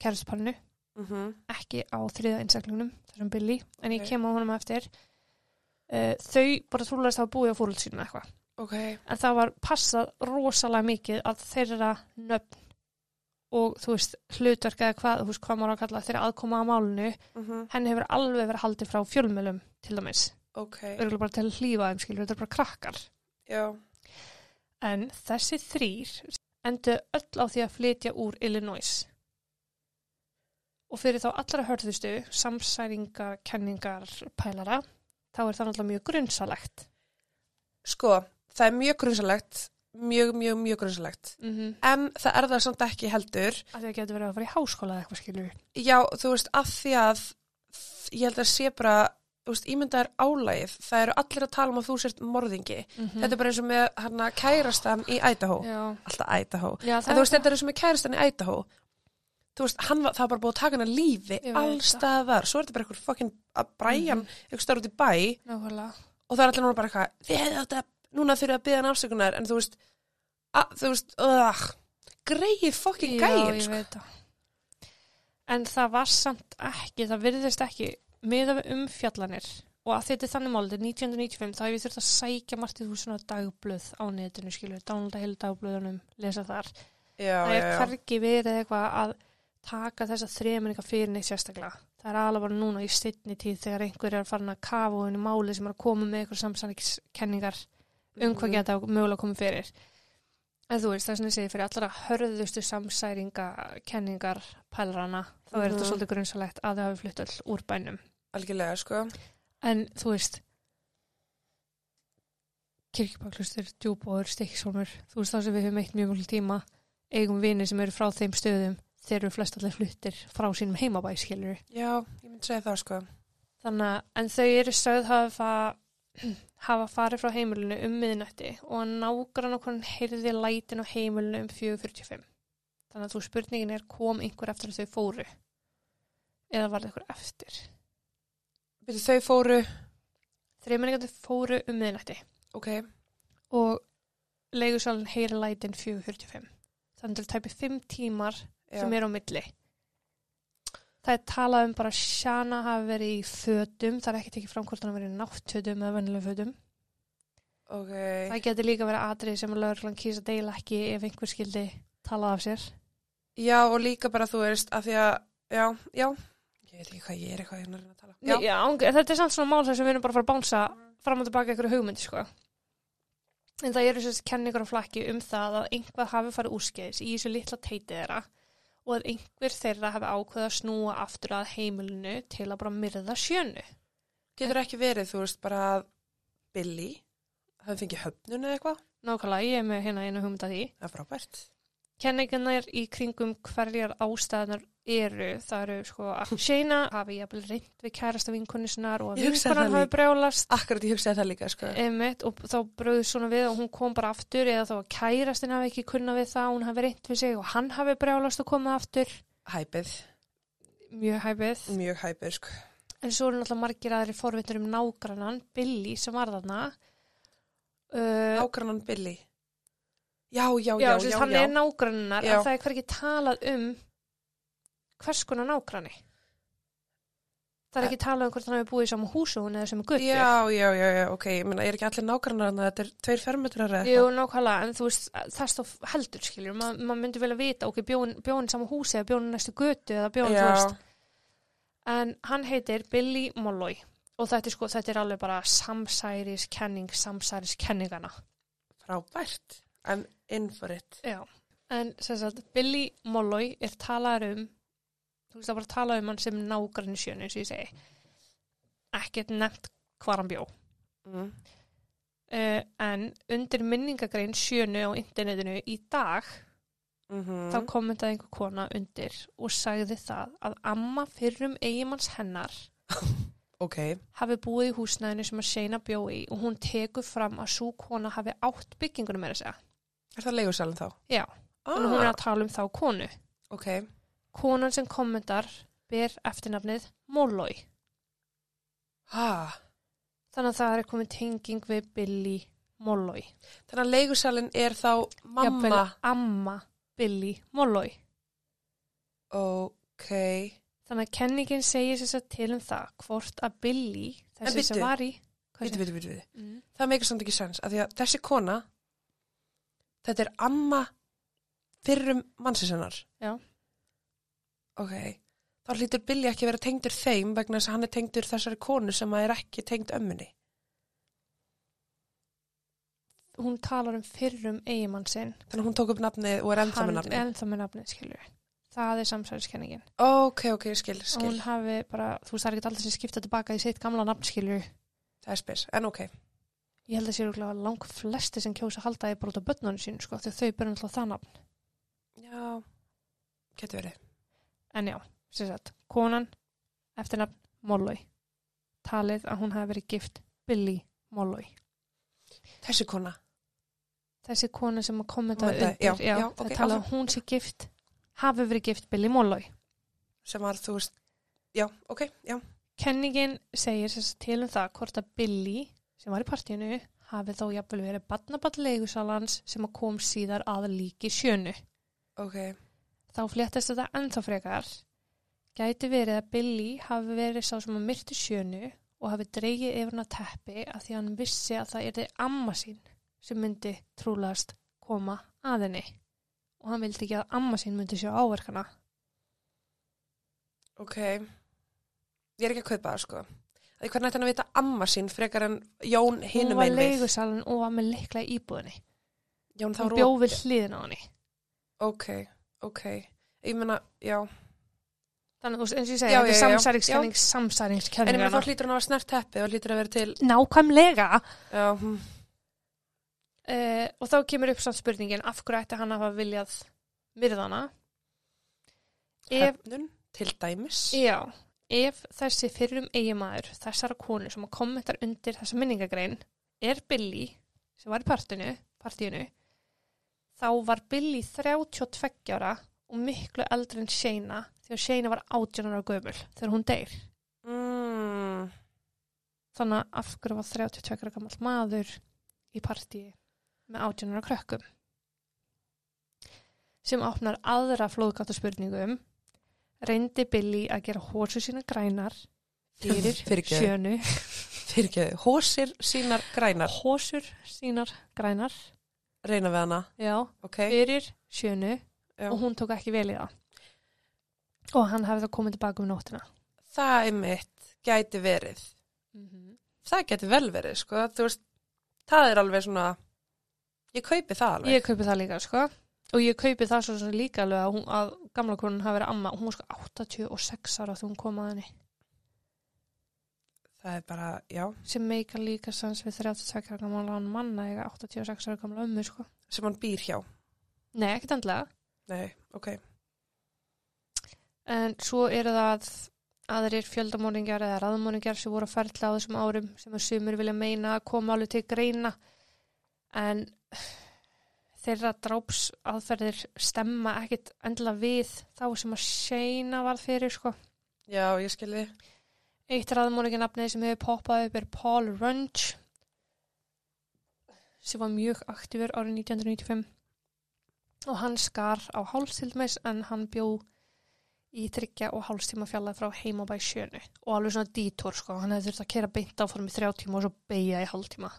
S1: kæristuparinu
S2: Mm -hmm.
S1: ekki á þriða einstaklingnum, þessum Billy, en ég
S2: Ok.
S1: kem á honum á eftir. Uh, þau bara trúlega hafa búið á fóröld sínum eitthvað.
S2: Ok,
S1: En það var passað rosalega mikið að þeirra nöfn og þú veist, hlutverk eða hvað, þú veist, hvað maður á að kalla þeirra aðkoma að málinu,
S2: mm -hmm.
S1: henni hefur alveg verið haldið frá fjölmjölum til dæmis.
S2: ok,
S1: Örgulega bara til að hlýfa þeim, skilur, þetta er bara krakkar.
S2: já,
S1: En þessi þrýr endu öll á því að flytja úr Illinois. Og fyrir þá allra hörðustu, samsæringar, kenningar, pælara, þá er það náttúrulega mjög grunnsalegt.
S2: sko, það er mjög grunnsalegt, mjög, mjög, mjög grunnsalegt.
S1: Mm -hmm.
S2: En það er það samt ekki heldur.
S1: Að það getur verið að fara í háskóla eða eitthvað skilur.
S2: Já, þú veist, af því að ég held að sé bara, þú veist, ímyndaður álægið, það eru allir að tala um að þú sért morðingi. Þetta er bara eins og með hana kærastan í Idaho.
S1: Mm. Já,
S2: Alltaf Idaho.
S1: Já
S2: En þú veist, þetta er eins og með kærastan í Idaho. Þú veist, hann var, það var bara búið að taka hann að lífi
S1: Ég veit Mhm.
S2: allstaðar. Svo er þetta bara eitthvað fokkin að bræjan, mm eitthvað starf út í bæ
S1: nákvæmlega.
S2: og það er allir núna bara eitthvað, þið hefði átt að, núna þurfið að byggja hann afsökunar, en þú veist, að, þú veist, uh, greið fokkin gæin,
S1: Já, ég
S2: sko.
S1: veit það. En það var samt ekki, það virðist ekki, miða við umfjallanir og að þetta er þannig málið, þetta er 1995, þá hef ég þurft að sækja margt í þúsuna dagblöð á netinu, skilur, dánlda heil dagblöðunum, lesa þar.
S2: Já,
S1: það
S2: já,
S1: er
S2: já.
S1: hvergi verið eitthvað að taka þessa þremenninga fyrir neitt sérstaklega. Það er alveg bara núna í steinni tíð þegar einhver er farin að kafa og í máli sem er að koma með eitthvað samsæðiskenningar um
S2: Mhm.
S1: hvað geta mögulega komið fyrir. En þú veist, það er svona að segja fyrir allra hörðustu samsæringakenningar pælrana, þá er þetta
S2: Mhm.
S1: svolítið grunnsalegt að þau hafi flutt all úr bænum.
S2: algjörlega sko
S1: En þú veist kirkjubaklustur, djúbóður, stikkshólmur þú veist það sem við höfum eitt mjög mjög tíma eigum vini sem eru frá þeim stöðum þeir eru flest allir fluttir frá sínum heimabæskilur
S2: já, ég myndi segja það sko
S1: þannig að en þau eru sögð hafa, hafa farið frá heimilinu um miðnætti og nágrann okkur heyrði lætin á heimilinu um 4.45 þannig að þú spurningin er kom einhver eftir að þau fóru eða var það einhver eftir
S2: Byrju, þau fóru,
S1: þreimenningandi fóru um miðnætti
S2: ok,
S1: og leigusalinn heyri lætin 4.45 þannig að það er tæpi 5 tímar
S2: já,
S1: sem er á milli það er talað um bara að Shana hafi verið í fötum það er ekki tekið fram hvort hann hafi verið í náttfötum eða vennilega fötum
S2: ok
S1: það getur líka verið atrið sem að lögreglan kýsa deila ekki ef einhver skildi talað af sér
S2: já og líka bara þú veist að því að, já, já ég veit ekki hvað ég er eitthvað hérna að reyna að tala já,
S1: Nei, já, ángi- en þetta er samt svona mál þar sem við erum bara að fara að bánsa fram og tilbaka einhverju hugmyndi sko. en það eru þessi kenningar á flakki um það að einhvað hafi farið úrskeiðis í þessu litla teiti þeirra og að einhver þeirra hafi ákveða að snúa aftur að heimilinu til að bara myrða sjönu
S2: getur ekki verið, þú veist, bara að Billy, hafi fengið höfnun eða eitthvað,
S1: nákvæmlega, ég er með hérna einu hugmynd að því
S2: það er frábært
S1: kenningarnar í kringum hverjar ástæðanar eru, það eru sko að Shana hafi jafnvel reynd við kærasta vinkunni sinnar og að
S2: Ég hugsaði það
S1: vinkunan hafi
S2: líka.
S1: brjálast
S2: akkurat ég hugsaði það líka, sko
S1: Einmitt, og þá bröðu svona við og hún kom bara aftur eða þá að kærastin hafi ekki kunna við það hún hafi reynt við sig og hann hafi brjálast og komið aftur
S2: hæpið,
S1: mjög hæpið
S2: mjög hæpið, sko
S1: en svo eru náttúrulega margir aðri forvitur um nágrannan Billy sem var þarna uh,
S2: ákrannan Billy já, já,
S1: já,
S2: já,
S1: sem
S2: já,
S1: sagt, hann
S2: já,
S1: er nágrannar
S2: Já.
S1: en það er hvergi talað um hvers konar nágranni það er ekki talað um hvort hann hafi búið í saman hús og hún eða sem er guttur
S2: já, já, já, já, ok, ég meina, er ekki allir nákrannar þannig að þetta er tveir fermetrar eða
S1: Jú, nákvæmlega, en þú veist, það stóð heldur, skiljur, Ma, maður myndi vel að vita, ok, bjón, bjón í sama húsi eða bjón í næstu götu eða bjón, þú
S2: já,
S1: veist. En hann heitir Billy Molloy og þetta er sko, þetta er alveg bara samsæriskenning, samsæriskenningana.
S2: frábært I'm in for it
S1: Já, en sem sagt, Billy Molloy er talaður um, þú veist, það er bara talað um hann sem nágrann sjönu, eins og ég segi, ekkert nefnt hvar hann bjó.
S2: mm.
S1: Uh, en undir minningagrein sjönu á internetinu í dag
S2: Mm
S1: þá kommentaði einhver kona undir og sagði það að amma fyrrum eigimanns hennar
S2: ok,
S1: hafi búið í húsnæðinu sem að Shana bjó í og hún tekur fram að svo kona hafi átt byggingunum meira að segja.
S2: er það leigursalinn þá?
S1: Já,
S2: ah,
S1: en hún er að tala um þá konu.
S2: ok,
S1: Konan sem kommentar ber eftirnafnið Molloy.
S2: ha
S1: Þannig að það er komið tenging við Billy Molloy.
S2: þannig að leigursalinn er þá mamma
S1: Jafnvel amma Billy Molloy.
S2: ok,
S1: Þannig að kenningin segir sér sér til um það hvort að Billy, þessi sem
S2: bíddu.
S1: var í...
S2: viti, viti, viti, viti
S1: Mm.
S2: það meikir samt ekki sens, af því að þessi kona þetta er amma fyrrum mannsinsennar
S1: Já.
S2: ok þá hlýtur Billy ekki að vera tengdur þeim vegna þess að hann er tengdur þessari konu sem að er ekki tengd ömmunni
S1: hún talar um fyrrum eigimann sinn
S2: þannig að hún tók upp nafnið og er ennþá með
S1: Hann-
S2: nafnið
S1: ennþá með nafnið, skilur það er samsæðiskenningin
S2: ok, ok, ég skil,
S1: og
S2: skil
S1: hún hafi bara, þú veist það er ekki alltaf sem skipta tilbaka í sitt gamla nafn, skilur
S2: það er spes, en ok
S1: ég held að sér okkur lang flesti sem kjósa að halda er bara út á börnunum sín, sko, þegar þau börnum alltaf það nafn
S2: já, getur verið
S1: en já, sem sagt, konan eftir nafn Molloy talið að hún hafi verið gift Billy Molloy
S2: þessi kona,
S1: þessi kona sem að kommenta
S2: Kommentaði,
S1: undir,
S2: já,
S1: já,
S2: já,
S1: það
S2: ok,
S1: okay, talað
S2: áfram.
S1: að hún sé gift hafi verið gift Billy Molloy
S2: sem var, þú veist já, ok, já,
S1: Kenningin segir sérst til um það hvort að Billy, sem var í partíinu, hafi þó jafnvel verið barnaball leigusalans sem að kom síðar að líki sjönu.
S2: ok
S1: Þá fléttast þetta ennþá frekar. Gæti verið að Billy hafi verið sá sem að myrti sjönu og hafi dreigið yfir hana teppi að því að hann vissi að það yrði amma sín sem myndi trúlast koma að henni. Og hann vildi ekki að amma sín myndi sjá áverkana.
S2: Ok. Ég er ekki að kaupa það, sko. Því hvernig ætti hann að vita amma sín frekar en Jón
S1: Hún
S2: hinum
S1: var
S2: einn við?
S1: leigusalinn og var með leikla í íbúðinni.
S2: Jón þá
S1: Hún
S2: rót.
S1: bjóð við hliðin á henni.
S2: Ok, ok. Ég meina, já.
S1: Þannig, þú veist, eins og ég segi,
S2: Já,
S1: þetta er
S2: já,
S1: samsæringskenning,
S2: já, já. En ég meina,
S1: samsæringskenningana.
S2: þá hlýtur hann að vera snert teppið og hlýtur að vera til,
S1: Nákvæmlega.
S2: já, hm,
S1: Uh, og þá kemur upp samt spurningin af hverju ætti hann að hafa viljað myrðana ef,
S2: höfnun, til dæmis.
S1: já, ef þessi fyrrum eigimaður þessara konu sem kommentar undir þessa minningagrein er Billy sem var í partinu, partíinu þá var Billy 32 ára og miklu eldri en Shayna því að Shayna var 18 ára gömul þegar hún deyr
S2: Mm,
S1: þannig að af hverju var 32 ára gammal maður í partíi með 18 ára krökkum sem opnar aðra flóðgáttu spurningum reyndi Billy að gera hósu sína grænar fyrir
S2: Fyrirgefðu.
S1: sjönu
S2: Fyrirgeðu, hósir sínar grænar,
S1: hósur sínar grænar
S2: reyna við hana,
S1: já,
S2: ok?
S1: fyrir sjönu
S2: Já.
S1: og hún tók ekki vel í það og hann hafði þá komið tilbaka um nóttina
S2: Það er mitt, gæti verið. Mhm. Það gæti vel verið, sko, þú veist, það er alveg svona, ég kaupi það alveg.
S1: Ég kaupi það líka, sko. Og ég kaupi það svo sem líka alveg að, hún, að gamla konan hafi verið amma. Hún var sko 86 ára þegar hún kom að henni.
S2: Það er bara, já,
S1: Sem meika líka sans við 32 ára gamla manna eiga 86 ára gamla ömmu, sko.
S2: sem hann býr hjá.
S1: Nei, ekkert endlega.
S2: Nei, ok.
S1: En svo eru það aðrir fjöldamóningjar eða raðmóningjar sem voru að ferla á þessum árum sem að sumur vilja meina að koma alveg til greina en þeirra dráps aðferðir stemma ekkit endilega við þá sem að Shayna varð fyrir sko.
S2: Já, ég skilji.
S1: Eitt raðmóninganafnið sem hefur poppað upp er Paul Runge sem var mjög aktífur árið 1995 og hann skar á háls til dæmis en hann bjó í tryggja og hálstíma fjallað frá heimabæ sjönu og alveg svona dítor sko, hann hefði þurft að kera beint áfram í þrjá tíma og svo beigja í hálftíma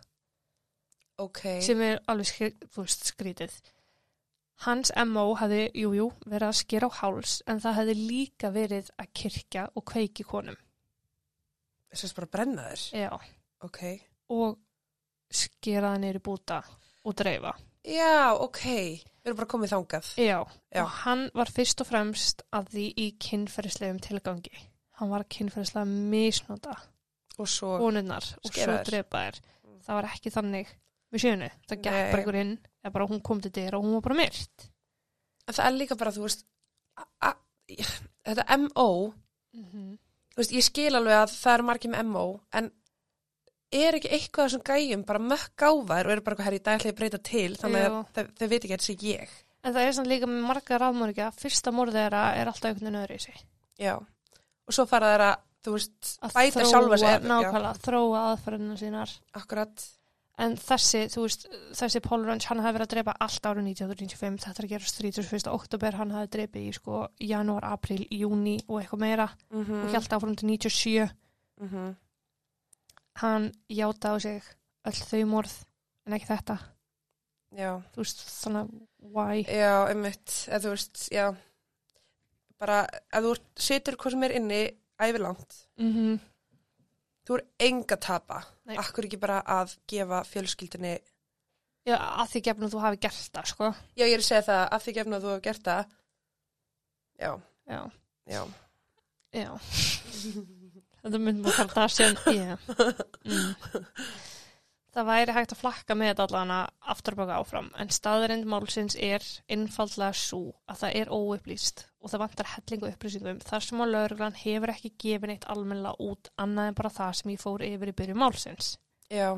S2: Ok.
S1: sem er alveg skri, þú veist, skrítið Hans M.O. hefði, jújú, jú, verið að skera á háls en það hefði líka verið að kirkja og kveiki konum
S2: Þess að bara brenna þér.
S1: Já
S2: Ok.
S1: og skera það niður í búta og dreifa.
S2: Já, ok. Við erum bara komið þangað.
S1: Já.
S2: Já.
S1: og hann var fyrst og fremst að því í kynferðislegum tilgangi. Hann var að kynferðislega misnota
S2: Og svo,
S1: konunnar og svo
S2: Skera þær.
S1: drepa þær. Það var ekki þannig við sjönu. Það gekk
S2: Nei.
S1: bara ykkur inn eða bara hún kom til dyr og hún var bara myrt.
S2: en það er líka bara, þú veist, a- a- þetta MO,
S1: Mm -hmm.
S2: þú veist, ég skil alveg að það er margir með MO, en er ekki eitthvað þessum gæjum bara mökk gáfaður og eru bara eitthvað herri í dag ætla ég að breyta til, þannig að
S1: Jú.
S2: þau, þau veit ekki að þetta sé ég.
S1: En það er samt líka með marga rafmörgja að fyrsta morð þeirra er alltaf einhvern veginn öðru í sig.
S2: Já. Og svo fara þeir að, þú veist, bæta sjálfa sér. Já,
S1: nákvæmlega, þróa aðferðina sínar.
S2: akkurat.
S1: En þessi, þú veist, þessi Paul Runge, hann hafði verið að dreipa allt árið 1995, þetta er að gera 31. oktober, hann hafði dreipið í sko janúar, april, júni og eitthvað meira
S2: Mm -hmm.
S1: og hjælt áfram til 97. mhm. Hann játaði á sig öll þau morð, en ekki þetta,
S2: Já.
S1: þú veist, þannig að, why?
S2: Já, einmitt, eða þú veist, já bara, ef þú ert- situr hvað sem er inni, ævilangt
S1: Mm
S2: þú er enga tapa
S1: Nei.
S2: akkur ekki bara að gefa fjölskyldinni
S1: Já, að því gefnum þú hafi gert það, sko.
S2: já, ég er að segja það, af því gefna að þú hefur gert það já,
S1: Já,
S2: já
S1: já. þetta myndum að kalla það sem, já. Mm. Það væri hægt að flakka með þetta allan að afturbaka áfram en staðarind málsins er einfaldlega svo að það er óupplýst og það vantar hellingu upplýsingum um þar sem að lögreglan hefur ekki gefin eitt almennlega út annað en bara það sem ég fór yfir í byrju málsins.
S2: já,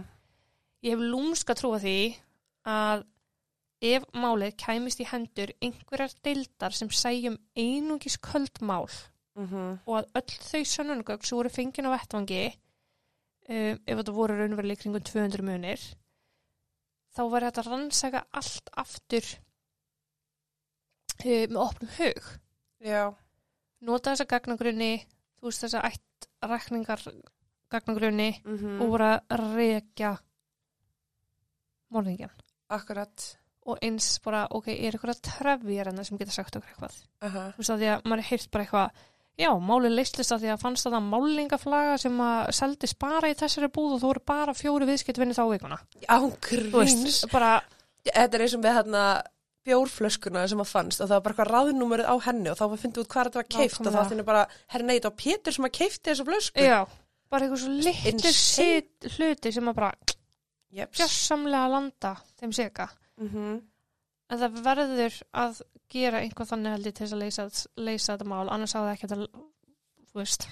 S1: Ég hef lúmska trúa því að ef málið kæmist í hendur einhverjar deildar sem sæjum einungis köldmál
S2: mm
S1: og að öll þau sönnungögg sem voru fengin á vettvangi um, ef þetta voru raunverulega í kringum 200 munir þá var þetta rannsaka allt aftur um, með opnum hug
S2: já
S1: nota þessa gagnagrunni þú veist þessa ætt rakningar gagnagrunni
S2: mm
S1: og voru að rekja morðingjan
S2: akkurat
S1: og eins bara, ok, er eitthvað trefjir enna hérna sem geta sagt okkur eitthvað
S2: aha,
S1: þú veist að því að maður er heyrt bara eitthvað Já, málið leistist að því að fannst að það málingaflaga sem að seldist bara í þessari búð og þú voru bara fjóri viðskiptvinni þá vikuna.
S2: Án
S1: Þú veist,
S2: gríns.
S1: bara,
S2: Þetta er eins og með hérna bjórflöskuna sem að fannst og það var bara eitthvað ráðnúmerið á henni og þá var fyndið út hvað þetta var keift og þá
S1: Nákvæmlega.
S2: ætti henni bara, herri neitt á Pétur sem að keifti þessa flösku.
S1: já, bara eitthvað svo litlu
S2: Insane.
S1: sit- hluti sem að bara
S2: Jeps.
S1: fjössamlega landa þeim seka.
S2: Mhm.
S1: En það verður að gera einhvað þannig held ég til þess að leysa, leysa þetta mál, annars á það ekki að, þú veist,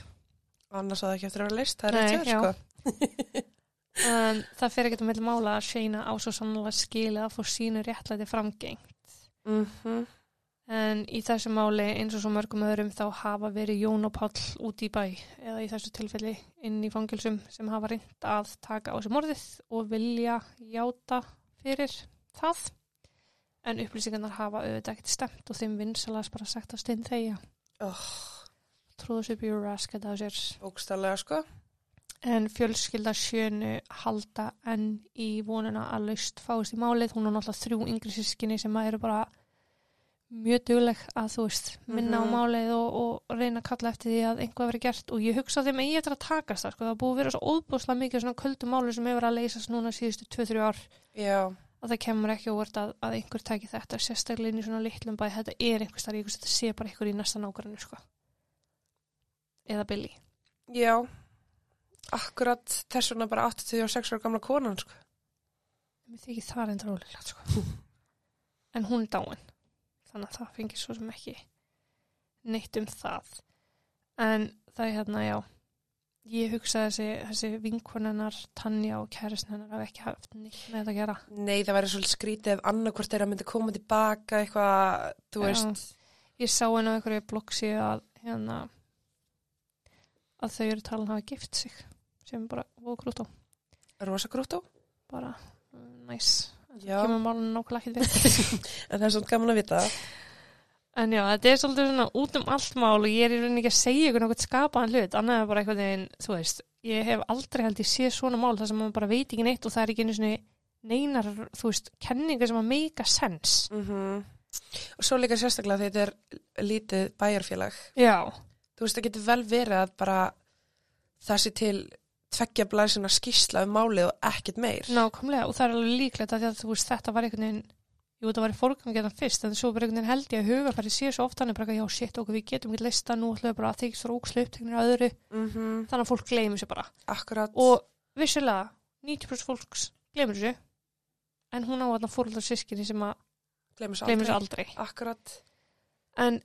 S2: Annars að það ekki eftir að vera leist, það er
S1: Nei,
S2: rétt hjá
S1: já.
S2: þér, sko.
S1: en það fer ekkert um milli mála að Shayna á svo sannlega skilið að fór sínu réttlæti framgeng.
S2: Mhm.
S1: En í þessu máli, eins og svo mörgum öðrum, þá hafa verið Jón og Páll út í bæ eða í þessu tilfelli inn í fangilsum sem hafa reynd að taka á sig morðið og vilja játa fyrir það. En upplýsingarnar hafa auðvitað ekkert stemt og þeim vinsalast bara sagt að stein þeia.
S2: Oh,
S1: Tróðu sér bjúr raskat á sér.
S2: Bókstallega, sko.
S1: En fjölskylda sjönu halda enn í vonuna að laust fáist í málið. Hún er náttúrulega þrjú yngri sískinni sem að eru bara mjög dugleg að þú veist minna
S2: Mhm.
S1: á málið og, og reyna að kalla eftir því að einhvað verið gert og ég hugsa að þeim eigi eftir að takast það sko. það er búið að vera svo óbúslega mikið svona köldu máli sem hefur verið að leysast núna síðustu 2-3 ár
S2: Já.
S1: að það kemur ekki óvart að, að einhver taki þetta sérstaklega inn í svona litlum bæ þetta er einhvers þar, ég veist þetta sé bara einhver í næsta nágrunni sko. eða Billy
S2: Já, akkurat þess vegna bara 86 ára gamla konan, sko.
S1: Mér þykir það reyndar ólíklegt sko. En hún er dáin. Þannig að það fengir svo sem ekki neitt um það. En það er hérna, já, ég hugsa þessi, þessi vinkonennar, Tanja og kærisnennar hafa ekki haft neitt með þetta að gera.
S2: Nei, það væri svolítið skrítið ef annarkvort þeirra myndi koma tilbaka eitthvað,
S1: Já.
S2: þú veist.
S1: Ég sá henni á einhverju bloggsíðu að, hérna, að þau eru talin hafa gift sig sem er bara vókrútt á.
S2: Rosa grútó.
S1: Bara mm, næs.
S2: Já,
S1: Kemur málun nákvæmlega ekki við.
S2: en það er svolítið gaman að vita. það.
S1: En já, þetta er svolítið svona út um allt mál og ég er í rauninni ekki að segja ykkur nákvæmt skapaðan hlut, annað er bara eitthvað en, þú veist, ég hef aldrei held ég séð svona mál þar sem maður bara veit ekki neitt og það er ekki einu svona neinar, þú veist, kenningar sem að make a sense.
S2: Mhm. Og svo líka sérstaklega þegar þetta er lítið bæjarfélag.
S1: Já,
S2: Þú veist, það getur vel verið að bara það sé til tveggja blæsina skýrsla um málið og ekkert meir.
S1: nákvæmlega og það er alveg líklegt að því að þú veist, þetta var einhvern veginn, jú, þetta var í fórgangetan fyrst, en svo bara einhvern veginn held ég að hugarfæri sé svo oft hann er bara eitthvað, já, shit, okkur, við getum ekki lista nú, ætlum við bara að þykist rókslu uppteknir að öðru,
S2: Mhm,
S1: þannig að fólk gleymur sér bara.
S2: Akkurat.
S1: og vissulega 90% fólks glemur þessu en hún á þarna fóröldar sískinni sem að
S2: gleymur svo
S1: glemur þessu
S2: aldrei.
S1: aldrei
S2: Akkurat.
S1: en,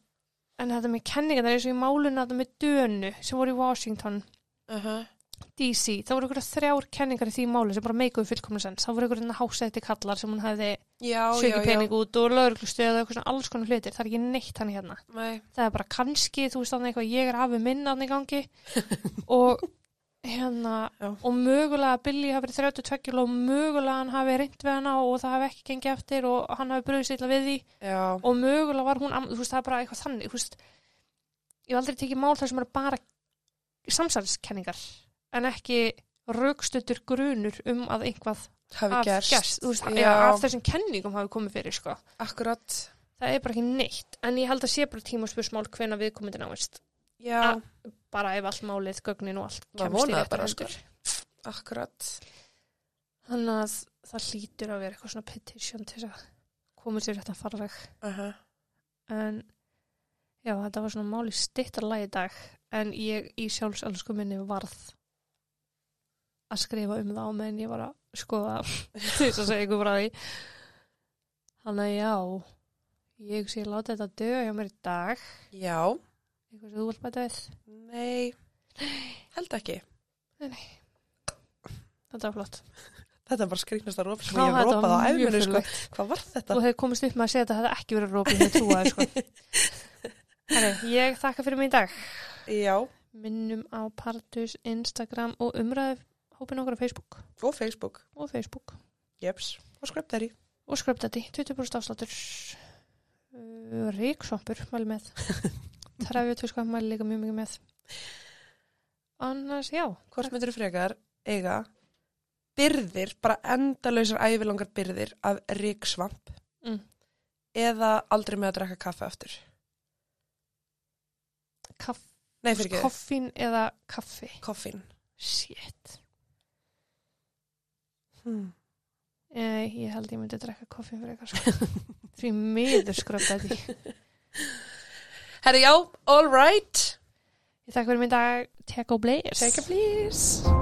S1: en þetta með kenningarnar eins og í málunna þetta með Dönu sem voru í Washington
S2: Uh
S1: DC, það voru ykkur þrjár kenningar í því máli sem bara meikuðu fullkomna sens, það voru ykkur hásætti kallar sem hún hefði
S2: Já, já,
S1: sökið
S2: já.
S1: pening út og lögreglustuð og eitthvað svona alls konar hlutir, það er ekki neitt hann hérna
S2: Nei.
S1: það er bara kannski, þú veist þannig eitthvað ég er afi minn þannig gangi og hérna
S2: Já.
S1: og mögulega að Billy hafi verið 32 kíló og mögulega hann hafi reynd við hana og það hafi ekki gengið eftir og hann hafi bröðið sýtla við því
S2: Já.
S1: og mögulega var hún, am- þú veist það er bara eitthvað þannig þú veist, ég hef aldrei tekið mál þar sem eru bara samsælskenningar en ekki raukstöndur grunur um að einhvað
S2: hafi
S1: af,
S2: gerst,
S1: gerst, þú veist,
S2: já,
S1: af þessum kenningum hafi komið fyrir sko.
S2: akkurat
S1: það er bara ekki neitt en ég held að sé bara tíma og spursmál hvena viðkomandi náist
S2: já,
S1: Ah. bara ef allt málið, gögnin og allt
S2: Maður
S1: kemst í
S2: vonar það
S1: réttar
S2: bara, sko.
S1: hendur.
S2: akkurat
S1: Þannig að það hlýtur að vera eitthvað svona petition til þess að koma sér réttan farveg.
S2: uh -huh.
S1: En já, þetta var svona málið stittarlega í dag en ég í sjálfselsku minni varð að skrifa um það á meðan ég var að skoða til þess að segja ykkur frá því. Þannig að já, ég sé láta þetta döga hjá mér í dag.
S2: já,
S1: Eitthvað sem þú vilt bæta við.
S2: nei held ekki,
S1: Þetta var flott.
S2: þetta er bara skrýknast að ropa sem
S1: Já,
S2: ég hef
S1: þetta var
S2: ropað á
S1: mjög
S2: æfminu sko.
S1: furðulegt.
S2: hvað var þetta?
S1: Þú hefði komist upp með að segja þetta hefði ekki verið rópið með trúaði sko. Herri, ég þakka fyrir mig í dag.
S2: já,
S1: Minnum á Partus, Instagram og umræðu hópin okkar á Facebook
S2: og Facebook,
S1: og Facebook
S2: jeps og skröptari,
S1: og skröptati, 20% afsláttur uh, Ríksompur, mæli með Trefið tviska, mæli líka mjög mikið með Annars, já
S2: hvort myndir frekar eiga byrðir, bara endalausar ævilangar byrðir af ríksvamp
S1: Mm.
S2: eða aldrei með að drekka kaffe aftur
S1: Kaffi
S2: Nei, fyrir ekki.
S1: koffín eða kaffi
S2: Koffín.
S1: shit
S2: Hmm.
S1: Eh, ég held ég myndi drekka koffín fyrir eitthvað sko. því miður skröpa því
S2: Herri, já, all right.
S1: ég þakka fyrir minn dag, take a blaze
S2: Take a please.